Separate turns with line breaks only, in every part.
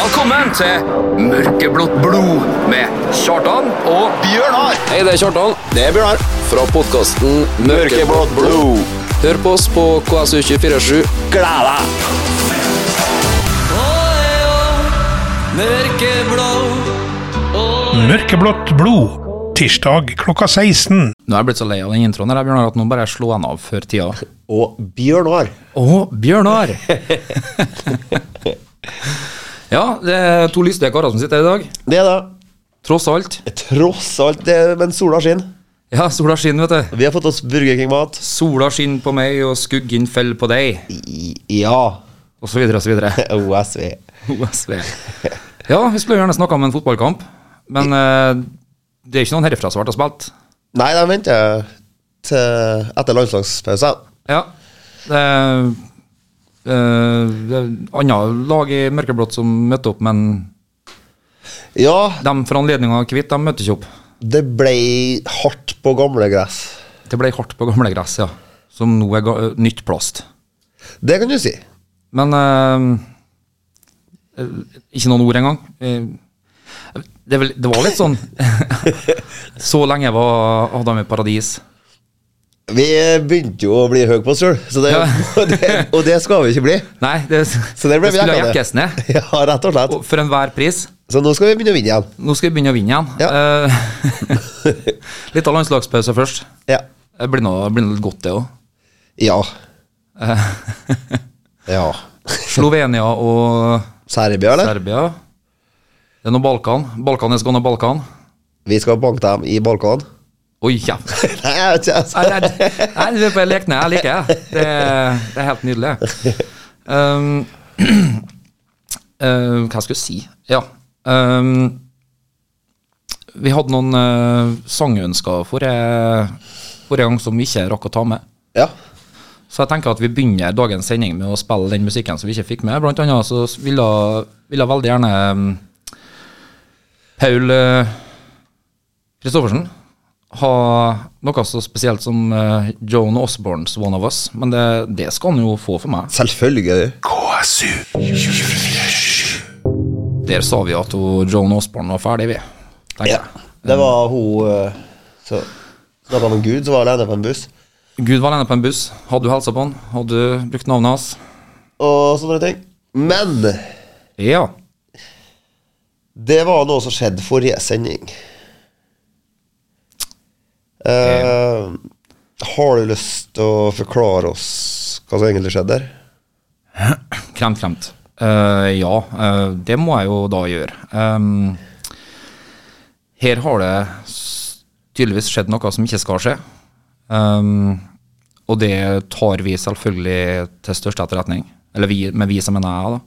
Velkommen til Mørkeblått blod med Kjartan og
Bjørnar
Hei, det er Kjartan.
Det er Bjørnar
Fra podkasten
Mørkeblått blod
Hør på oss på KSU247.
Gled deg
Mørkeblått blod. Tirsdag klokka 16.
Nå er jeg blitt så lei av den introen her, Bjørnar, at nå bare slå han av før tida.
Og Bjørnar
Å, Bjørnar! ja, det er to lystige karer som sitter her i dag.
Det da
Tross alt.
Tross alt det Men sola skinn
Ja, sola skinner, vet du.
Vi har fått oss Burger King mat
Sola skinner på meg, og skuggen faller på deg,
I- Ja
og så videre og så videre.
OSV
OSV. Ja, vi skulle gjerne snakka om en fotballkamp, men eh, det er ikke noen herfra som har vært og spilt.
Nei, de venter til Etter landslagspause
Ja. Det er, eh, det er annet lag i mørkeblått som møtte opp, men
Ja
de for anledninga kvitt, de møtte ikke opp.
Det ble hardt på gamle gress
Det ble hardt på gamle gress, ja. Som nå er ga ø, nytt plast.
Det kan du si
Men eh, eh, ikke noen ord engang. Eh, det, er vel, det var litt sånn Så lenge var Adam i paradis.
Vi begynte jo å bli høy på oss selv Så det, og det Og det skal vi ikke bli
Nei, det,
Så det ble vi
skulle
jekka
jekkes ned.
Ja, rett og slett
og For enhver pris.
Så nå skal vi begynne å vinne igjen
Nå skal vi begynne å vinne igjen. Eh, litt av landslagspause først.
Ja
Det blir noe, blir noe godt, det òg.
Ja Ja
Slovenia og
Serbia, eller?
Serbia. Det er nå Balkan. Balkan er skåna Balkan.
Vi skal banke dem i balkon.
Oi, ja.
Nei, jeg vet ikke. Altså.
Nei, nei, nei, det er bare lekne. Jeg liker det. Det er, det er helt nydelig. Um, eh, hva skal jeg si? Ja. Um, vi hadde noen uh, sangønsker forrige, forrige gang som vi ikke rakk å ta med.
Ja.
Så jeg tenker at vi begynner dagens sending med å spille den musikken som vi ikke fikk med. Blant annet så ville ville veldig gjerne um, Paul eh, Kristoffersen ha noe så spesielt som eh, Joan Osbornes One of Us, men det, det skal han jo få for meg.
Selvfølgelig.
Der sa vi at hun, Joan Osborne var ferdig, vi. tenker
Ja.
jeg.
Det var hun eh, så Snakka om en gud som var alene på en buss,
Gud var alene på en buss. Hadde du helsa på han? Hadde du brukt navnet hans?
og sånne ting. Men
Ja.
det var noe som skjedde forrige sending. Eh, har du lyst til å forklare oss hva som egentlig skjedde der?
Kremt, kremt. Eh, ja, eh, det må jeg jo da gjøre. Ehm, her har det s- tydeligvis skjedd noe som ikke skal skje. Ehm, og det tar vi selvfølgelig til største etterretning. Eller vi, med vi som mener jeg, da.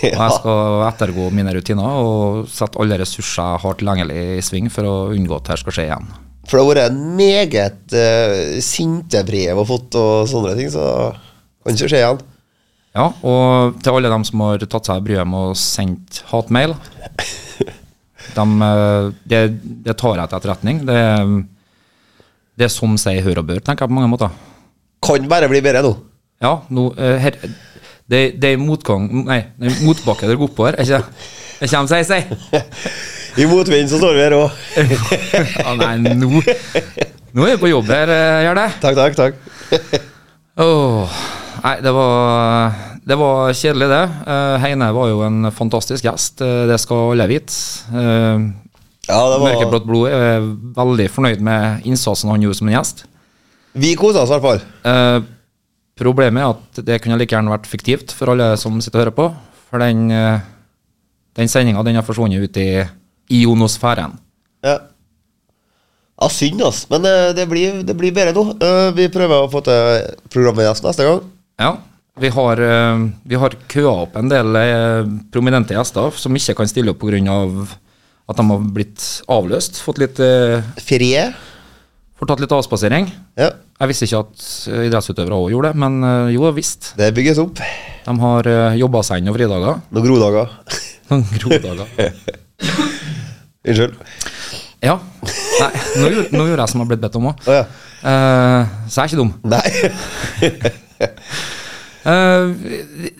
Og jeg skal ettergå mine rutiner og sette alle ressurser jeg har tilgjengelig i sving for å unngå at dette skal skje igjen.
For det har vært en meget eh, sinte brev og fått og sånne ting, så kan ikke skje igjen.
Ja, og til alle dem som har tatt seg bryet med å sende hatmail dem, eh, det, det tar jeg til etterretning. Det, det er som seg hør og bør, tenker jeg på mange måter.
Kan bare bli bedre nå.
Ja, nå, eh, her, det, det er motgang Nei, det er motbakke dere går oppover. er Ikke det kommer seg, si.
I motvind så står vi her òg.
Ja, nei, nå Nå er vi på jobb her, eh, gjør det.
Takk, takk, takk.
Åh, nei, det var, det var kjedelig, det. Eh, Heine var jo en fantastisk gjest, eh, det skal alle vite. Eh,
Ja, det var
Mørkeblått blod er veldig fornøyd med innsatsen han gjorde som en gjest.
Vi kosa oss i hvert fall.
Eh, problemet er at det kunne like gjerne vært fiktivt for alle som sitter og hører på. For den, eh, den sendinga har forsvunnet ut i ionosfæren.
Ja. ja, synd, ass. Men eh, det blir, det blir bedre nå. Eh, vi prøver å få til programmet gjest neste gang.
Ja, vi har, eh, vi har køa opp en del eh, prominente gjester som ikke kan stille opp pga. at de har blitt avløst. Fått litt, eh,
Ferie.
fått tatt litt avspasering.
Ja,
Jeg visste ikke at eh, idrettsutøvere òg gjorde det, men eh, jo visst.
det bygges opp.
De har uh, jobba seg inn over fridager.
Noen grodager.
Noen grodager.
Unnskyld.
Ja. Nei, nå, gjorde, nå gjorde jeg som Eh, jeg har blitt bedt om òg.
Å ja.
så jeg er ikke dum.
Nei.
Eh,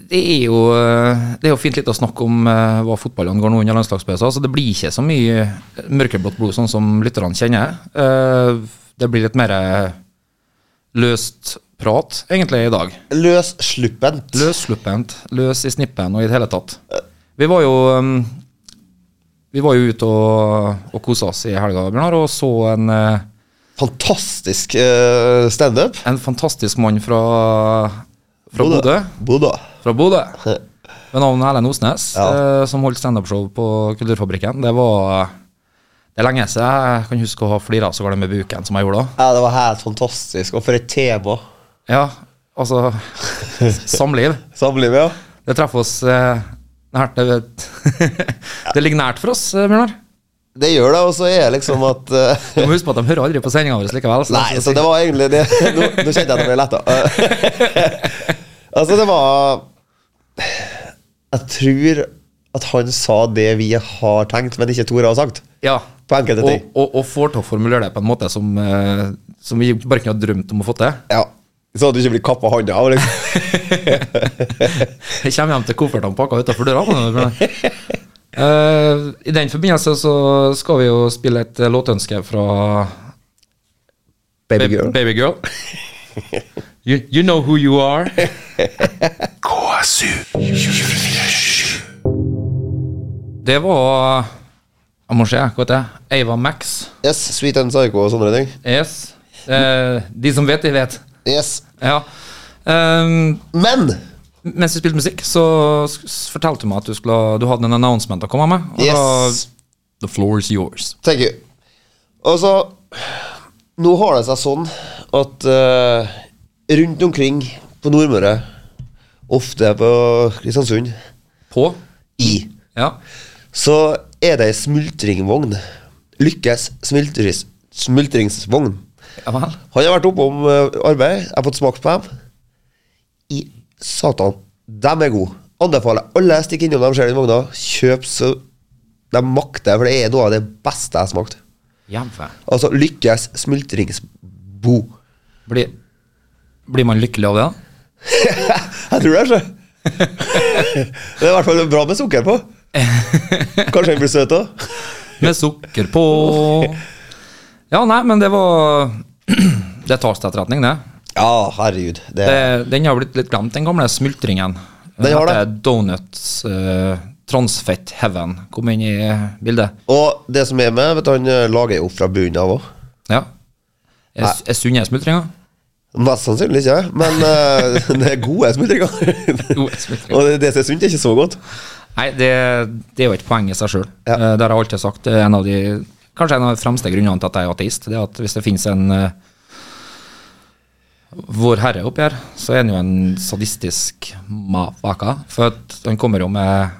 det, er jo, eh, det er jo fint litt å snakke om eh, hva fotballene går nå under landslagspausen. Så altså, det blir ikke så mye mørkeblått blod sånn som lytterne kjenner. Eh, det blir litt mer eh, løst prat, egentlig, i dag.
Løssluppent.
Løssluppent, løs i snippen og i det hele tatt. Vi var jo um, Vi var jo ute og, og kosa oss i helga, Bjørnar, og så en, eh,
Fantastisk eh, standup.
en fantastisk mann fra, fra Bodø.
Bodø.
Fra Bodø. Ved navn Erlend Osnes,
Ja.
eh, som holdt standupshow på Kulturfabrikken. Det var Det er lenge siden jeg kan huske å ha flira så galt med buken som jeg gjorde da.
Ja, det var helt fantastisk. Og for et tema.
Ja, altså Samliv.
Samlivet, ja.
Det treffer oss eh, nært det, det ligger nært for oss, eh, Bjørnar.
Det gjør det, og så er liksom at eh,
Du må huske på at de hører aldri på sendinga vår likevel. så det
Nei, altså,
er
så det var egentlig det. Nå, nå kjente jeg at det ble letta. altså, det var Jeg tror at han sa det vi har tenkt, men ikke Tore har sagt.
Ja.
På enkelte
Og,
ting.
og, og får til å formulere det på en måte som, eh, som vi bare kunne ha drømt om å få til.
Ja. Så at du ikke blir kappa hånda av. Liksom.
Jeg kommer hjem til koffertene pakka utafor døra. nå, Bjørnar. Eh, I den forbindelse så skal vi jo spille et eh, låtønske fra
Babygirl.
Babygirl. You, you know who you are.
KSU.
Det var Jeg må se, hva heter det? Ava Max.
Yes, Sweet and Psycho og sånne ting.
Yes. Eh, de som vet, de vet.
Yes.
Ja. Ehm,
Men
mens vi spilte musikk, så s- s- fortalte du meg at du, skulle, du hadde en announcement å komme med. og
yes,
da- The floor is yours.
thank you. Altså, nå har det seg sånn at eh, rundt omkring på Nordmøre, ofte på Kristiansund,
På.
i
Ja.
så er det ei smultringvogn. Lykkes smultris, smultringsvogn.
Ja vel.
Han har vært oppe om eh, arbeid, jeg har fått smakt på dem. I satan, dem er gode. Anbefaler alle stikk innom dem, ser den vogna. Kjøp så de makter, for det er noe av det beste jeg har smakt.
Jævlig.
Altså Lykkes smultringsbo.
Blir, blir man lykkelig av det? da?
Jeg tror det, altså. det er i hvert fall bra med sukker på. Kanskje den blir søt òg.
Med sukker på Ja, nei, men det var Det tas til etterretning, det.
Ja, herregud. Det,
det. Den har blitt litt glemt, den gamle smultringen.
Den har det.
heter Donuts eh, Transfett Heaven kom inn i bildet.
Og det som er med, vet du, han eh, lager jo fra bunnen av òg.
Ja. Er, er sunne smultringer?
Mest sannsynlig ikke, men eh, det er gode smultringer.
Gode smultringer.
og det, det som er sunt, er ikke så godt.
Nei, det, det er jo et poeng i seg sjøl.
Ja.
Det har jeg alltid sagt. Det er en av de, kanskje en av de fremste grunnene til at jeg er ateist. Det er at hvis det finnes en eh, Vårherre oppi her, så er han jo en sadistisk mafaka. For at han kommer jo med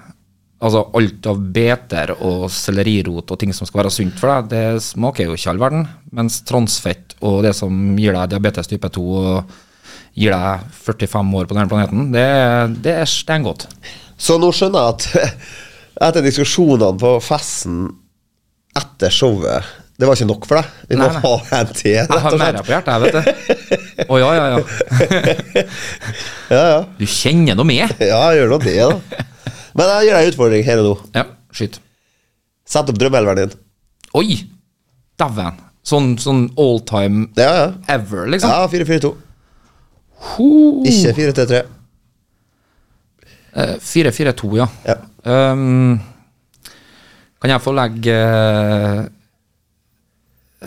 altså alt av beter og sellerirot og ting som skal være sunt for deg. Det smaker jo ikke all verden. Mens transfett og det som gir deg diabetes type 2 og gir deg 45 år på denne planeten, det, det er steingodt.
Så nå skjønner jeg at etter diskusjonene på festen etter showet Det var ikke nok for deg. Vi må
Nei, nei.
ha en til,
Jeg
rett
har
og
mer
slett.
på hjertet, jeg, vet du. Å ja, ja, ja.
Ja, ja.
Du kjenner noe med.
ja, gjør nå det, da. Men jeg gir deg en utfordring her og nå.
Ja, skyt.
Sett opp drømmeelveren din.
Oi! Dæven. Sånn, sånn all time
Ja, ja.
ever, liksom.
Ja, 4-4-2.
Ho!
Ikke 4-3-3.
Eh, 4-4-2, ja.
Ja.
Ehm, kan jeg få legge eh,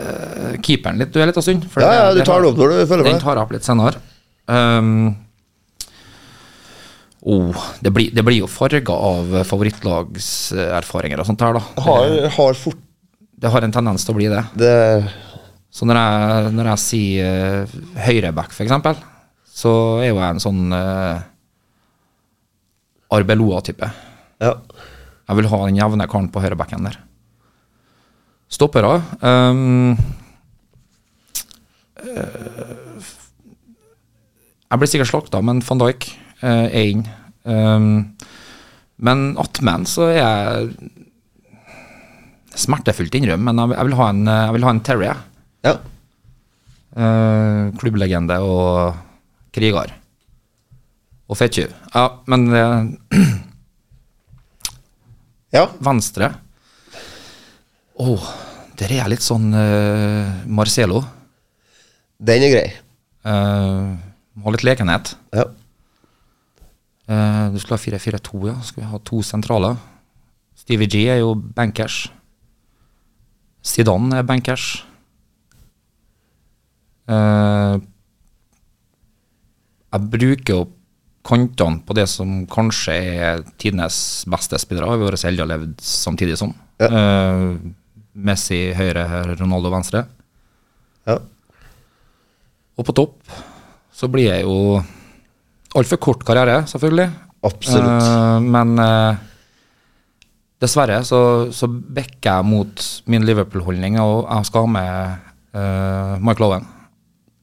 eh, keeperen litt, du er litt av stund? For
Ja, ja,
det-
du
det
tar den opp når du føler for
Den
det.
tar jeg opp litt senere. Ehm, oh, det, blir, det blir jo farga av favorittlagserfaringer og sånt her, da.
Har, har fort eh,
Det har en tendens til å bli det.
det
Så når jeg, når jeg sier uh, høyreback, f.eks., så er jo jeg en sånn eh, Arbeloa-type.
Ja.
Jeg vil ha den jevne karen på høyrebacken der. Stoppere um, eh, Jeg blir sikkert slakta, men van Dijk eh, er inn. Ehm, men attmed så er jeg Smertefullt innrømme, men jeg vil- jeg vil ha en, eh, jeg vil ha en Terry. jeg.
ja.
Eh, klubblegende og kriger. Og fettkjuv. Ja, men eh,
Ja.
Venstre. Åh, der er jeg litt sånn eh, Marcelo.
Den er grei.
Eh, må ha litt lekenhet.
Ja.
Eh, du skulle ha 4-4-2, ja. Skal vi ha to sentraler? Stevie G er jo bankers. Zidane er bankers. Eh, jeg bruker opp kantene på det som kanskje er tidenes beste spillere. Har vi vært så heldige å ha levd samtidig som. Eh, Messi høyre, Ronaldo venstre.
ja.
Og på topp så blir jeg jo altfor kort karriere, selvfølgelig.
Absolutt.
Eh, men eh, dessverre så, så bekker jeg mot min Liverpool-holdning, og jeg skal ha med eh, Michael Owen.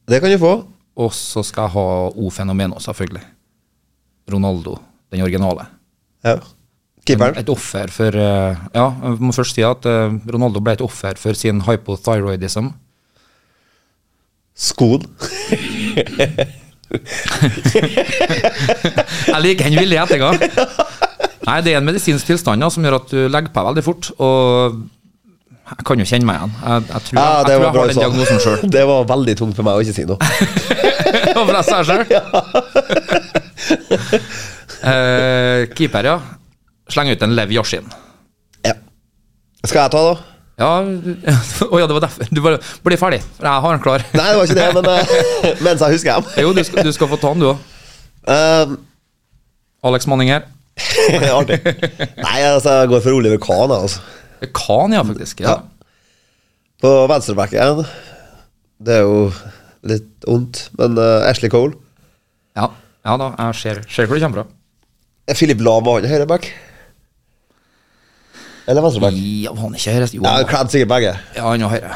Det kan du få.
Og så skal jeg ha O Fenomeno, selvfølgelig. Ronaldo, den originale.
Ja. Keeperen.
Et offer for eh, Ja, jeg må først si at eh, Ronaldo ble et offer for sin hypothyroidism.
Skoen.
Jeg liker den villige ettergang. Nei, det er en medisinsk tilstand ja, som gjør at du legger på veldig fort. Og jeg kan jo kjenne meg igjen. Jeg, jeg tror,
Ja,
jeg,
det
jeg, tror
var
jeg har
bra du
den
sa.
diagnosen sjøl.
Det var veldig tungt for meg å ikke si noe.
For jeg sa det selv. Eh, keeper, ja. Sleng ut en Lev Yashin.
Ja. Skal jeg ta, da?
Ja, å ja, det var derfor. Du bare bli ferdig. Jeg har den klar.
Nei, det var ikke det, men eh, mens jeg husker dem.
Jo, du skal, du skal få ta den, du òg.
Eh,
Alex Manninger.
det er artig. Nei, altså, jeg går for Oliver Kahn, jeg, altså.
Kan, ja, faktisk. Ja.
Ja. På venstrebacken Det er jo litt ondt, men eh, Ashley Cole.
Ja, ja da, jeg ser, ser hvor du kommer fra.
Er Philip Lahm og han høyreback? Eller venstreback?
Ja, var han ikke høyre? Jo,
Ja,
han var-
kledd sikkert begge.
ja, han var høyre.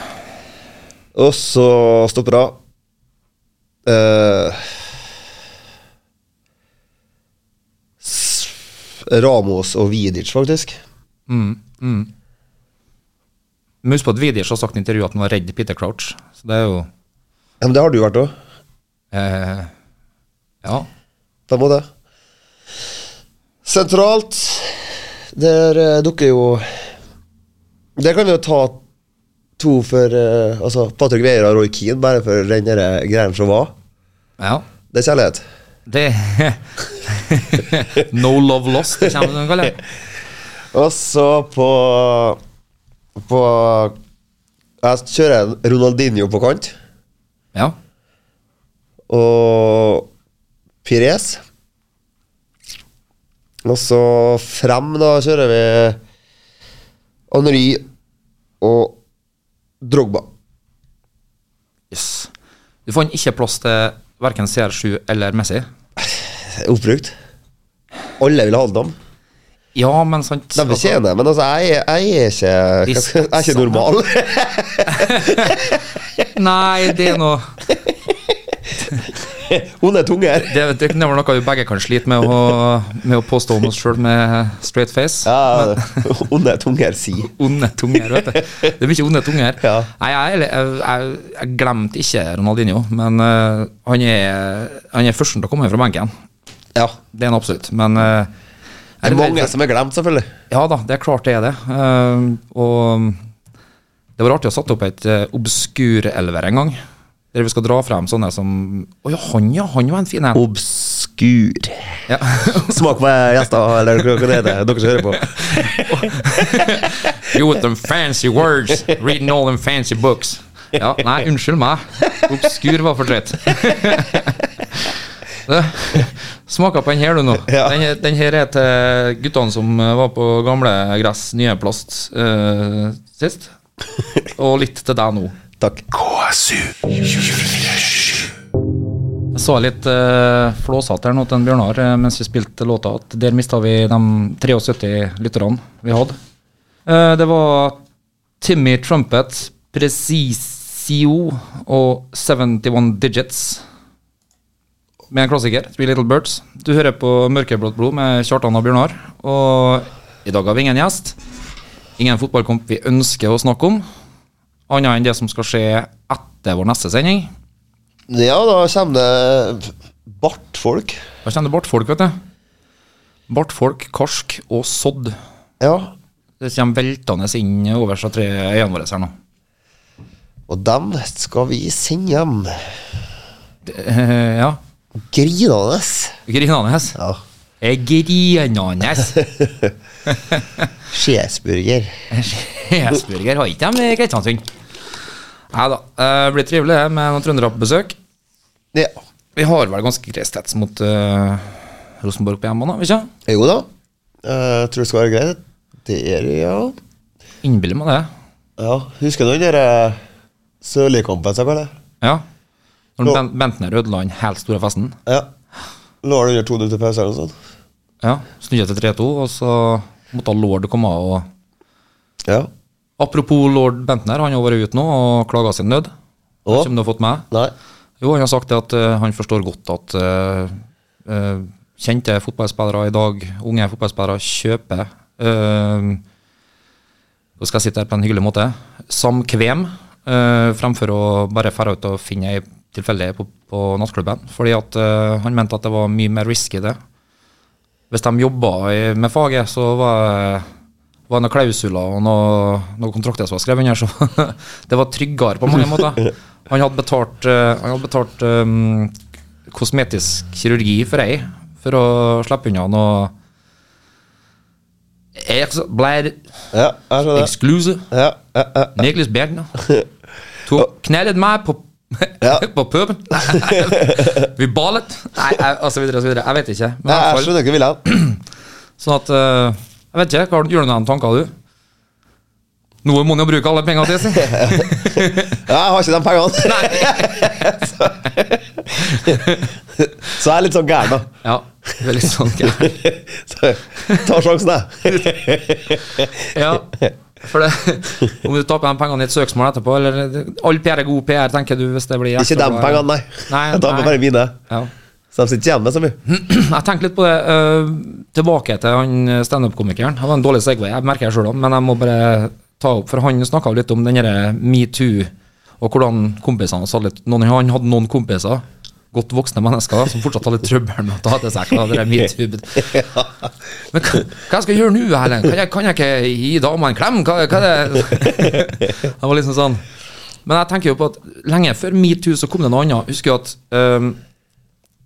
Og så stopper av. Eh, s- Ramos og Vidic, faktisk.
Men husk på at Vidic har sagt i intervjuet at han var redd Peter Crouch. Så det er jo
Ja, men det har du vært òg,
eh, Ja.
på en måte. Sentralt, der eh, dukker jo Der kan vi jo ta to for eh, Altså Patrick Vieira og Roy Keane, bare for den der greien som var.
ja.
Det er kjærlighet.
Det No love lost, det kommer det kaller det.
Og så på På Jeg kjører en Ronaldinho på kant
Ja.
og Pires. Og så frem, da kjører vi Henry og Drogba.
Yes. Du fant ikke plass til verken CR7 eller Messi.
Oppbrukt. Alle vil ha dem.
Ja, men sant
De fortjener men altså, jeg, er- jeg, er ikke, hva skal- jeg er ikke normal.
Altså, nei, det er noe
Hun er tung her.
Det, det er vel noe vi begge kan slite med å, med å påstå om oss sjøl med straight face.
Ja, hun er tung her, si.
Onde tunger, vet du. Det er mye onde tunger.
Ja.
Nei, jeg, er- jeg, jeg, jeg glemte ikke Ronaldinho, men eh, han, er, han er førsten til å komme fra benken.
Ja.
Det er han absolutt. Men eh,
Det er
jeg
mange
redd
som er glemt, selvfølgelig.
for- Ja da, det er klart det er det. Eh, og det var artig å sette opp et eh, obskur elver en gang. Der vi skal dra frem sånne som Å ja, han ja, han var en fin
Oh.
en.
Obskur.
Ja.
Smak på gjester, eller hva det heter. Dere som hører på.
You with them fancy words, reading all them fancy books. Ja, nei, unnskyld meg. Obskur var for drøyt. Smaka på den her, du, nå.
Ja.
Den, her- den her er til guttene som eh, var på gamle gress, nye plast, eh, sist. Og litt til deg nå.
Takk.
KSU.
Jeg så litt eh, flåsete her nå til en Bjørnar eh, mens vi spilte låta, at der mista vi de 73 lytterne vi hadde. Eh, det var Timmy Trumpet, Precisio og 71 Digits. Med en klassiker, Three Little Birds. Du hører på Mørkeblått blod med Kjartan og Bjørnar. Og i dag har vi ingen gjest. Ingen fotballkamp vi ønsker å snakke om, annet enn det som skal skje etter vår neste sending.
Ja, da kommer det Bartfolk.
Da kjenner du bartfolk, vet du. Bartfolk, karsk og sodd.
Ja.
Det kommer veltende inn over seg tre øyene våre her nå.
Og dem skal vi sende hjem.
Eh, ja.
Grinende.
Grinende.
Ja.
Jeg er Grinende.
Skiesburger.
Hesburger har ikke de i Kristiansund. Nei da. eh, blir trivelig det, med noen trøndere på besøk.
Ja.
Vi har vel ganske grei stats mot eh, Rosenborg på hjemmebane, har vi ikke?
Jo da. Eh, tror det skal være greit. Det er det, ja.
Innbiller meg det.
ja. Husker du den derre Sørli-kampen, som jeg kaller det?
Ja. Når
Nå-
ben Bentner ødela den helt store festen.
Ja. Lå det under 2-0 til pause eller noe sånt?
Ja. Snudde til 3-2, og så måtte Lord komme av og
Ja.
Apropos lord Bentner, han har vært ute nå og klaga sin nød. Jeg vet
Å?
ikke om du har fått med
Nei.
Jo, han har sagt det at eh, han forstår godt at eh, eh, kjente fotballspillere i dag, unge fotballspillere, kjøper eh, Nå skal jeg sitte her på en hyggelig måte. Samkvem, eh, fremfor å bare dra ut og finne ei tilfeldig på, på nattklubben. Fordi at eh, han mente at det var mye mer risky det. Hvis de jobba i, med faget, så var var noen klausuler og noen, noen kontrakter som var skrevet under, så det var tryggere på mange måter. Han hadde betalt, eh, han hadde betalt um, kosmetisk kirurgi for ei, for å slippe unna noe Ex- Blær
Ja, jeg skjønner det.
exclusive.
Ja, ja, ja.
Niklas Bergner tok knellet meg på,
Ja.
på puben. Vi ballet. Nei, jeg- og så videre og så videre. Jeg vet ikke. Men i
Nei,
hvert
jeg
fall-
skjønner ikke Wilhelm.
Sånn at eh, Jeg vet ikke, hva har du- gjør du noen tanker, du? Noe må en jo bruke alle pengene til, si.
Ja, jeg har ikke de pengene. Så jeg er litt sånn gæren, da.
Ja, det er litt sånn gøy.
Så jeg tar sjansen, jeg.
Ja, for det, om du taper de pengene i et søksmål etterpå, eller det- All PR er god PR, tenker du, hvis det blir
Ikke de pengene, nei.
Nei,
Jeg tar
nei.
med bare mine.
Ja.
Så de sitter ikke igjen med så mye.
Jeg tenker litt på det. eh, tilbake til han standup-komikeren. Han var en dårlig segway, jeg merker det sjøl òg, men jeg må bare ta opp. For han snakka litt om den derre metoo, og hvordan kompisene hans hadde litt noen, Han hadde noen kompiser, godt voksne mennesker, som fortsatt hadde litt trøbbel med å ta til seg hva det der metoo bet- Men hva, hva skal jeg gjøre nå, Erlend? Kan jeg, kan jeg ikke gi dama en klem? Hva, hva er det Han var liksom sånn. Men jeg tenker jo på at lenge før metoo så kom det noe annet. Husker jo at eh,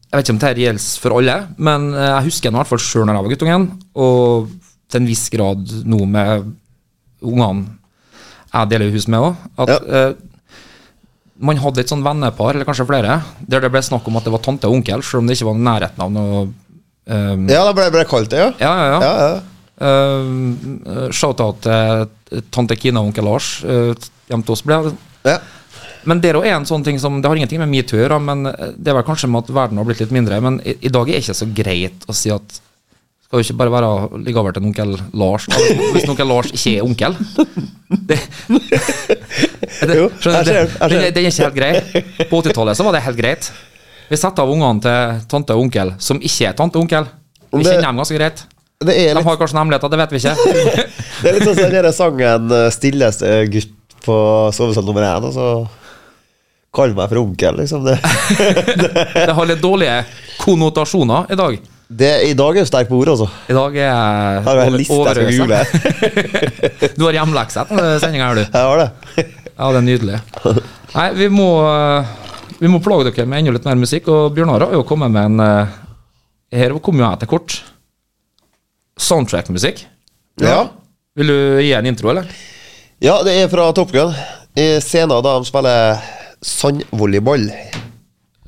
jeg vet ikke om dette gjelder for alle, men eh, jeg husker den i hvert fall sjøl når jeg var guttungen, og til en viss grad nå med ungene jeg deler hus med òg, at
Ja.
eh, man hadde et sånn vennepar, eller kanskje flere, der det ble snakk om at det var tante og onkel, selv om det ikke var i nærheten av noe um,
Ja, da ble det kalt det, ja.
ja, ja, ja.
Ja, ja.
Eh, Shout-out til tante Kina og onkel Lars eh, hjemme til oss. ble
ja.
men det er jo en sånn ting som, det har ingenting med metoo å gjøre, men eh, det er vel kanskje med at verden har blitt litt mindre. Men i, i dag er det ikke så greit å si at skal jo ikke bare være å ligge over til en onkel Lars, da, hvis en onkel Lars ikke er onkel. Det, det,
Jo,
skjønner du?
jeg ser det, jeg ser
det,
det.
det er ikke helt greit. På 80-tallet så var det helt greit. Vi setter av ungene til tante og onkel som ikke er tante og onkel. Vi
Om det-
kjenner dem ganske greit.
Det er
De
litt,
har kanskje en hemmelighet, og det vet vi ikke.
det er litt sånn som den der sangen eh, 'Stilleste gutt på sovesal nummer én', og så Kall meg for onkel, liksom. Det,
Det har litt dårlige konnotasjoner i dag.
det I dag er jo sterk på ord, altså.
I dag er jeg
Har du en liste jeg skal
overøset.
google?
Du har hjemlekse etter sendinga, har eh, du?
Jeg har det.
Ja, det er nydelig. Nei, vi må, eh, vi må plage dere med enda litt mer musikk, og Bjørnar har jo kommet med en eh, Her kom jo jeg til kort. Soundtrack-musikk.
Ja.
Vil du gi en intro, eller?
ja, det er fra Top Gun. I scenen da de spiller sandvolleyball.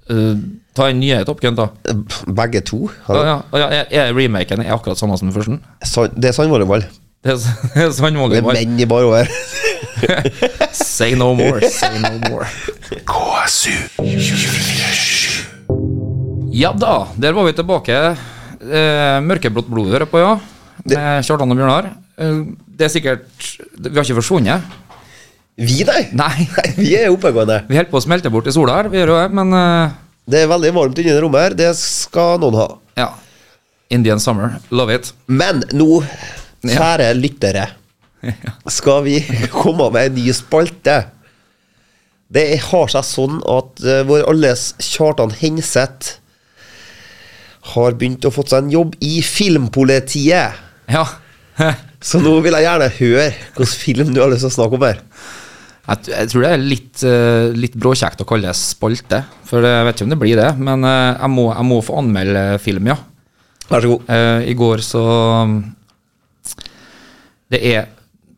Eh, ta en nyhet opp, Gun, da.
Begge to. har
Ja, ja, ja, er- er remaken er akkurat samme som den første?
Sand- Det er sandvolleyball.
Det er, s- det er sånn
Det er
volleyball.
menn i bar over.
Say no more, say no more.
KSU 247.
Ja da, der var vi tilbake. Eh, mørkeblått blod hører på, ja. Med Kjartan og Bjørnar. Eh, det er sikkert Vi har ikke forsvunnet.
Vi, nei!
Nei.
Vi er oppegående.
Vi holder på å smelte bort i sola her, vi gjør jo det, men eh,
Det er veldig varmt inni det rommet her. Det skal noen ha.
ja. Indian summer, love it.
Men nå, kjære lyttere, skal vi komme med en ny spalte. Det har seg sånn at eh, vår alles Kjartan Henseth har begynt å fått seg en jobb i filmpolitiet.
Ja.
Så nå vil jeg gjerne høre hvilken film du har lyst til å snakke om her.
Jeg, t- jeg tror det er litt, eh, litt bråkjekt å kalle det spalte, for eh, jeg vet ikke om det blir det. Men eh, jeg må, jeg må få anmelde film, ja.
Vær så god.
Eh, I går så um, Det er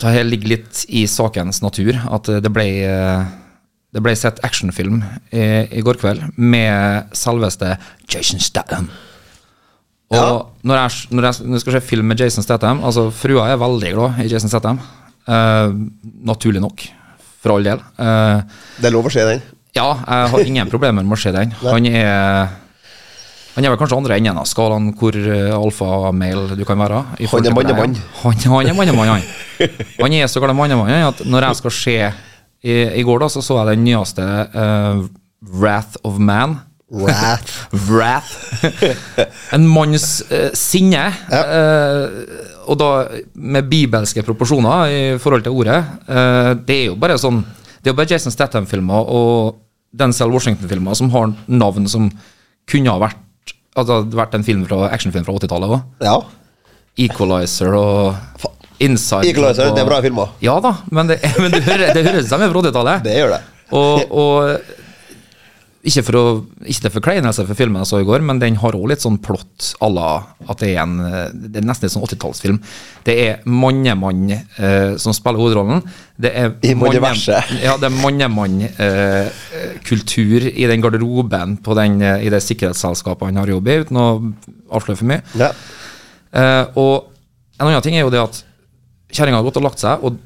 Det her ligger litt i sakens natur at eh, det ble eh, Det ble sett actionfilm i, i går kveld med selveste Jason Statham. Og når, jeg, når, jeg, når jeg skal se film med Jason Statham Altså Frua er veldig glad i Jason Statham. Eh, naturlig nok, for all del. Eh,
Det er lov å se den.
ja, jeg har ingen problemer med å se den. Han er han er vel kanskje andre enden av skalaen hvor eh, alfamail du kan være. i forhold
Han
til
er
deg.
mannemann.
Han, han er mannemann, han. Han er så kalt mannemann han, at når jeg skal se i, I går da, så så jeg den nyeste eh, Wrath of Man.
Wrath.
Wrath. En manns eh, sinne. eh, og da med bibelske proporsjoner i forhold til ordet. Eh, det er jo bare sånn Det er jo bare Jason Statham-filmer og Denzel Washington-filmer som har navn som kunne ha vært Altså det hadde vært en film fra, actionfilm fra 80-tallet òg.
Ja.
Equalizer og
Fa-
Inside
Equalizer,
og-
det er bra filmer.
Ja da, men det, men det hører- det høres ut som de er fra 80-tallet.
Det gjør det.
Og, og ikke for å Ikke til forkleinelse for filmen jeg så i går, men den har òg litt sånn plott à la at det er en eh, Det er nesten en sånn 80-tallsfilm. Det er mannemann eh, som spiller hovedrollen. Det er
I
manne-
multiverset.
Ja, det er mannemann-kultur i den garderoben på den, eh, i det sikkerhetsselskapet han har jobb i, uten å avsløre for mye.
Ja.
Eh, og en annen ting er jo det at kjerringa har gått og lagt seg, og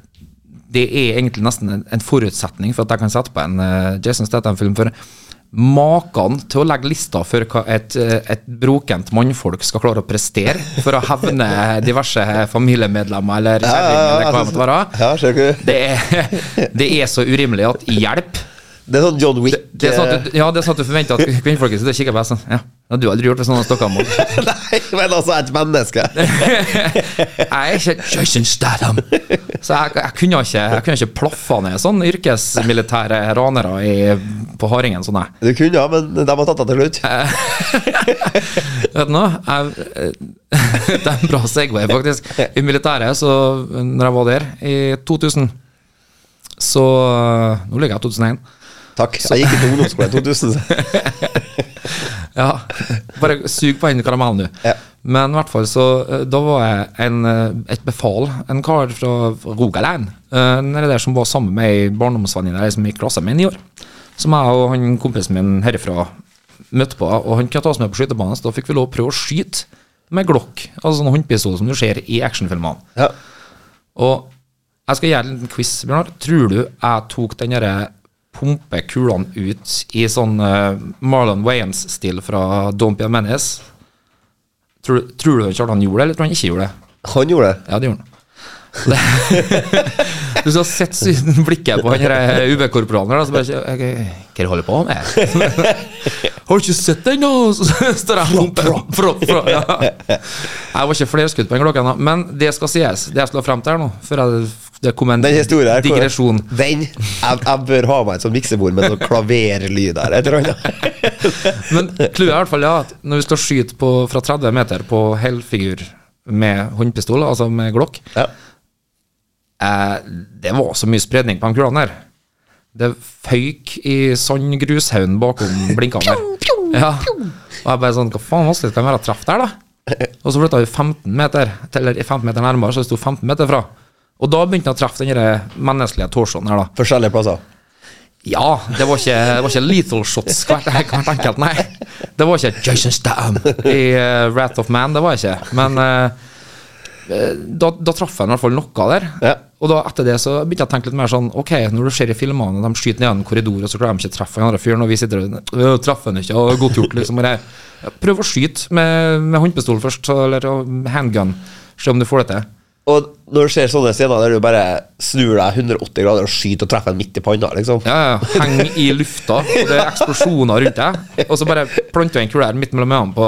det er egentlig nesten en, en forutsetning for at jeg kan sette på en eh, Jason Statham-film. For maken til å legge lista for hva et, eh, et brokent mannfolk skal klare å prestere for å hevne diverse familiemedlemmer eller kjerring eller hva det måtte være.
Ja, ser du.
Det er, det er så urimelig at hjelp!
Det er sånn John Wick.
Det er sånn at du, ja, det er sånn at du forventer at kvinnfolket sitter og kikker på deg sånn. Ja, du har aldri gjort det sånn og stokka mot.
eh, Nei, men altså, et menneske.
Jeg er ikke Jason Statham. Så jeg, jeg, kunne ikke, jeg kunne ikke plaffa ned sånne sånn yrkesmilitære ranere i, på Hardingen. Sånn, jeg.
Du kunne, ja, men de har tatt deg til slutt.
Vet du noe? Jeg, eh, det er en bra segway, faktisk. I militæret, så når jeg var der i 2000 Så Nå ligger jeg i 2001.
Takk. Jeg gikk ikke på ungdomsskolen i 2000. så-
Ja, bare sug på den karamellen, du.
Ja.
Men i hvert fall så eh, Da var jeg en, eh, et befal, en kar fra Rogaland, eh, nede der som var sammen med ei barndomsvenninne jeg som gikk i klassen min i år. Som jeg og han kompisen min herifra møtte på. Og han kunne ta oss med på skytebanen, så da fikk vi lov å prøve å skyte med Glock. Altså sånn håndpistol som du ser i actionfilmene.
Ja.
Og jeg skal gjøre en liten quiz, Bjørnar. Tror du jeg tok den derre pumpekulene ut i sånn eh, Marlon Wayans-stil fra Don't Be a Menace? Tror, tror du Kjartan gjorde det, eller tror han ikke gjorde det?
Han gjorde det.
Ja, det gjorde han. Det- Du skal ha sett siden blikket på han eh, der UB-korporalen der, da, så bare ikke- ok, Hva er det du holder på med? Har du ikke sett den, da? Så står jeg og pumper. Fra- fra- ja. Jeg var ikke flerskudd på den klokken, da. Men det skal sies. Det jeg skal frem til her nå, før jeg, det kom en
Den historien her
digresjon.
Den, jeg, jeg bør ha meg et sånt miksebord med noe klaverlyd her. Et eller annet.
Men clouet er i hvert fall ja, at når vi skal skyte på, fra 30 meter på helfigur med håndpistol, altså med glokk
Ja.
eh, Det var så mye spredning på de kulene der. Det føyk i sandgrushaugen bakom blinkene der. Ja. Og jeg bare sånn Hva faen vanskelig skal det være å treffe der, da? Og så flytta vi 15 meter til, eller 15 meter nærmere, så det sto 15 meter fra. Og da begynte han å treffe den der menneskelige torsoen her, da.
Forskjellige plasser.
Ja, det var ikke, det var ikke lethal shots hvert, hvert enkelt, nei. Det var ikke Jason Statham i eh, Wrath of Man, det var ikke. Men eh, eh, da, da traff jeg i hvert fall noe der.
Ja.
Og da etter det så begynte jeg å tenke litt mer sånn Ok, når du ser i filmene de skyter ned en korridor, og så klarer de ikke å treffe den andre fyren, og vi sitter og «Øh, treffer han ikke, og godt gjort, liksom. Og jeg, prøv å skyte med, med håndpistol først, så- eller og handgun. Se om du får det til.
Og når du ser sånne scener der du bare snur deg 180 grader og skyter og treffer en midt i panna, liksom.
Ja, ja, ja. Heng i lufta, og det er eksplosjoner rundt deg. Og så bare planter du en kule her midt mellom øynene på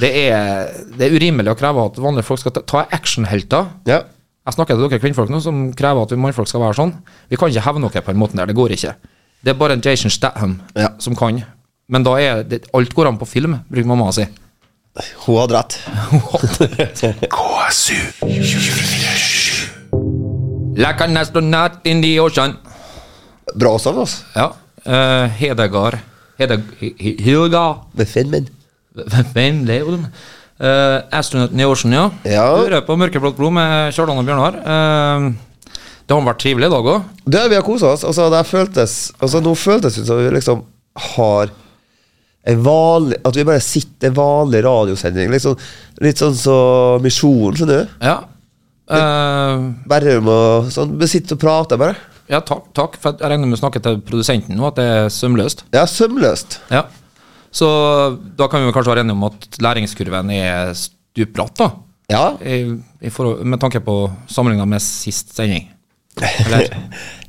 det er, det er urimelig å kreve at vanlige folk skal ta- ta actionhelter.
Ja.
Jeg snakker til dere kvinnfolk nå som krever at vi mannfolk skal være sånn. Vi kan ikke hevne dere på den måten der. Det går ikke. Det er bare en Jason Statham
Ja.
som kan. Men da er det, alt går an på film, bruker mamma å si.
Hun hadde rett.
KSU.
Like an astronaut in the ocean.
Bra sang, altså.
Ja. eh, Hedegard Hedeg... He- He- Hilga
Med Finnmen.
Hvem det er, Odin? Uh, Astronauten i Ocean, ja.
Ja.
Du hører på Mørkeblått blod med Kjartan og Bjørnar. Eh, det har vært trivelig i dag òg.
Det vi har kosa oss. Altså, det har føltes Altså, nå føltes det ut som vi liksom har en vanlig At vi bare sitter i en vanlig radiosending. Liksom, litt sånn som så Misjonen, skjønner du.
Ja. Eh,
Bærum og sånn. Vi sitter og prater, bare.
ja, takk, takk. For jeg regner med å snakke til produsenten nå, at det er sømløst.
Ja, sømløst.
Ja. Så da kan vi vel kanskje være enige om at læringskurven er stupbratt, da.
Ja.
I, i forhold, med tanke på sammenligna med sist sending. Eller?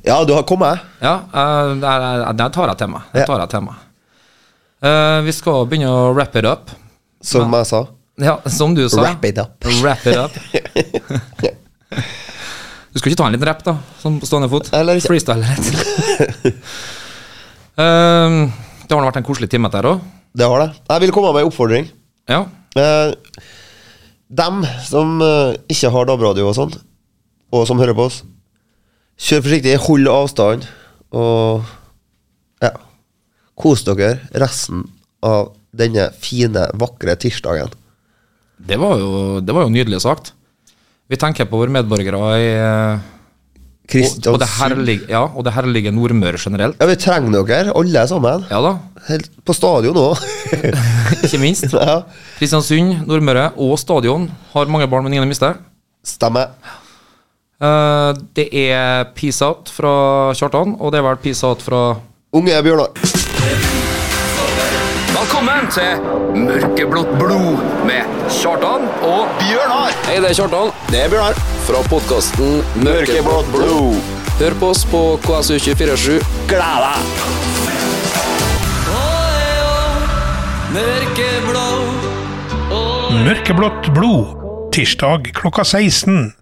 Ja, du har kommet.
Ja, eh, der, der, der tar jeg til meg. Der
Ja.
tar jeg til meg. Eh, vi skal begynne å wrap it up.
Som jeg sa.
Ja, som du sa.
Wrap it up.
Wrap it up. du skal ikke ta en liten rap, da? Sånn på stående fot?
Eller ikke.
Freestyle litt. Eh, det har nå vært en koselig time der òg.
Det har det. Jeg vil komme med en oppfordring.
Ja.
Eh, dem som eh, ikke har DAB-radio og sånn, og som hører på oss, kjør forsiktig, hold avstand, og ja, kos dere resten av denne fine, vakre tirsdagen.
Det var, jo, det var jo nydelig sagt. Vi tenker på våre medborgere i, eh, og, og, det
Kristiansund.
herlige, ja, og det herlige Nordmøre generelt.
Ja, vi trenger dere, alle sammen.
Ja da,
Helt på stadion òg.
ikke minst.
ja,
Kristiansund, Nordmøre og stadion har mange barn, men ingen har mistet.
stemmer.
Eh, det er peace out fra Kjartan, og det er vel peace out fra
Unge Bjørnar.
Velkommen til Mørkeblått blod med Kjartan og Bjørnar.
Hei, det er Kjartan.
Det er Bjørnar.
Fra podkasten Mørkeblått blod. Hør på oss på KSU247.
Gled deg!
Mørkeblått blod. Tirsdag klokka 16.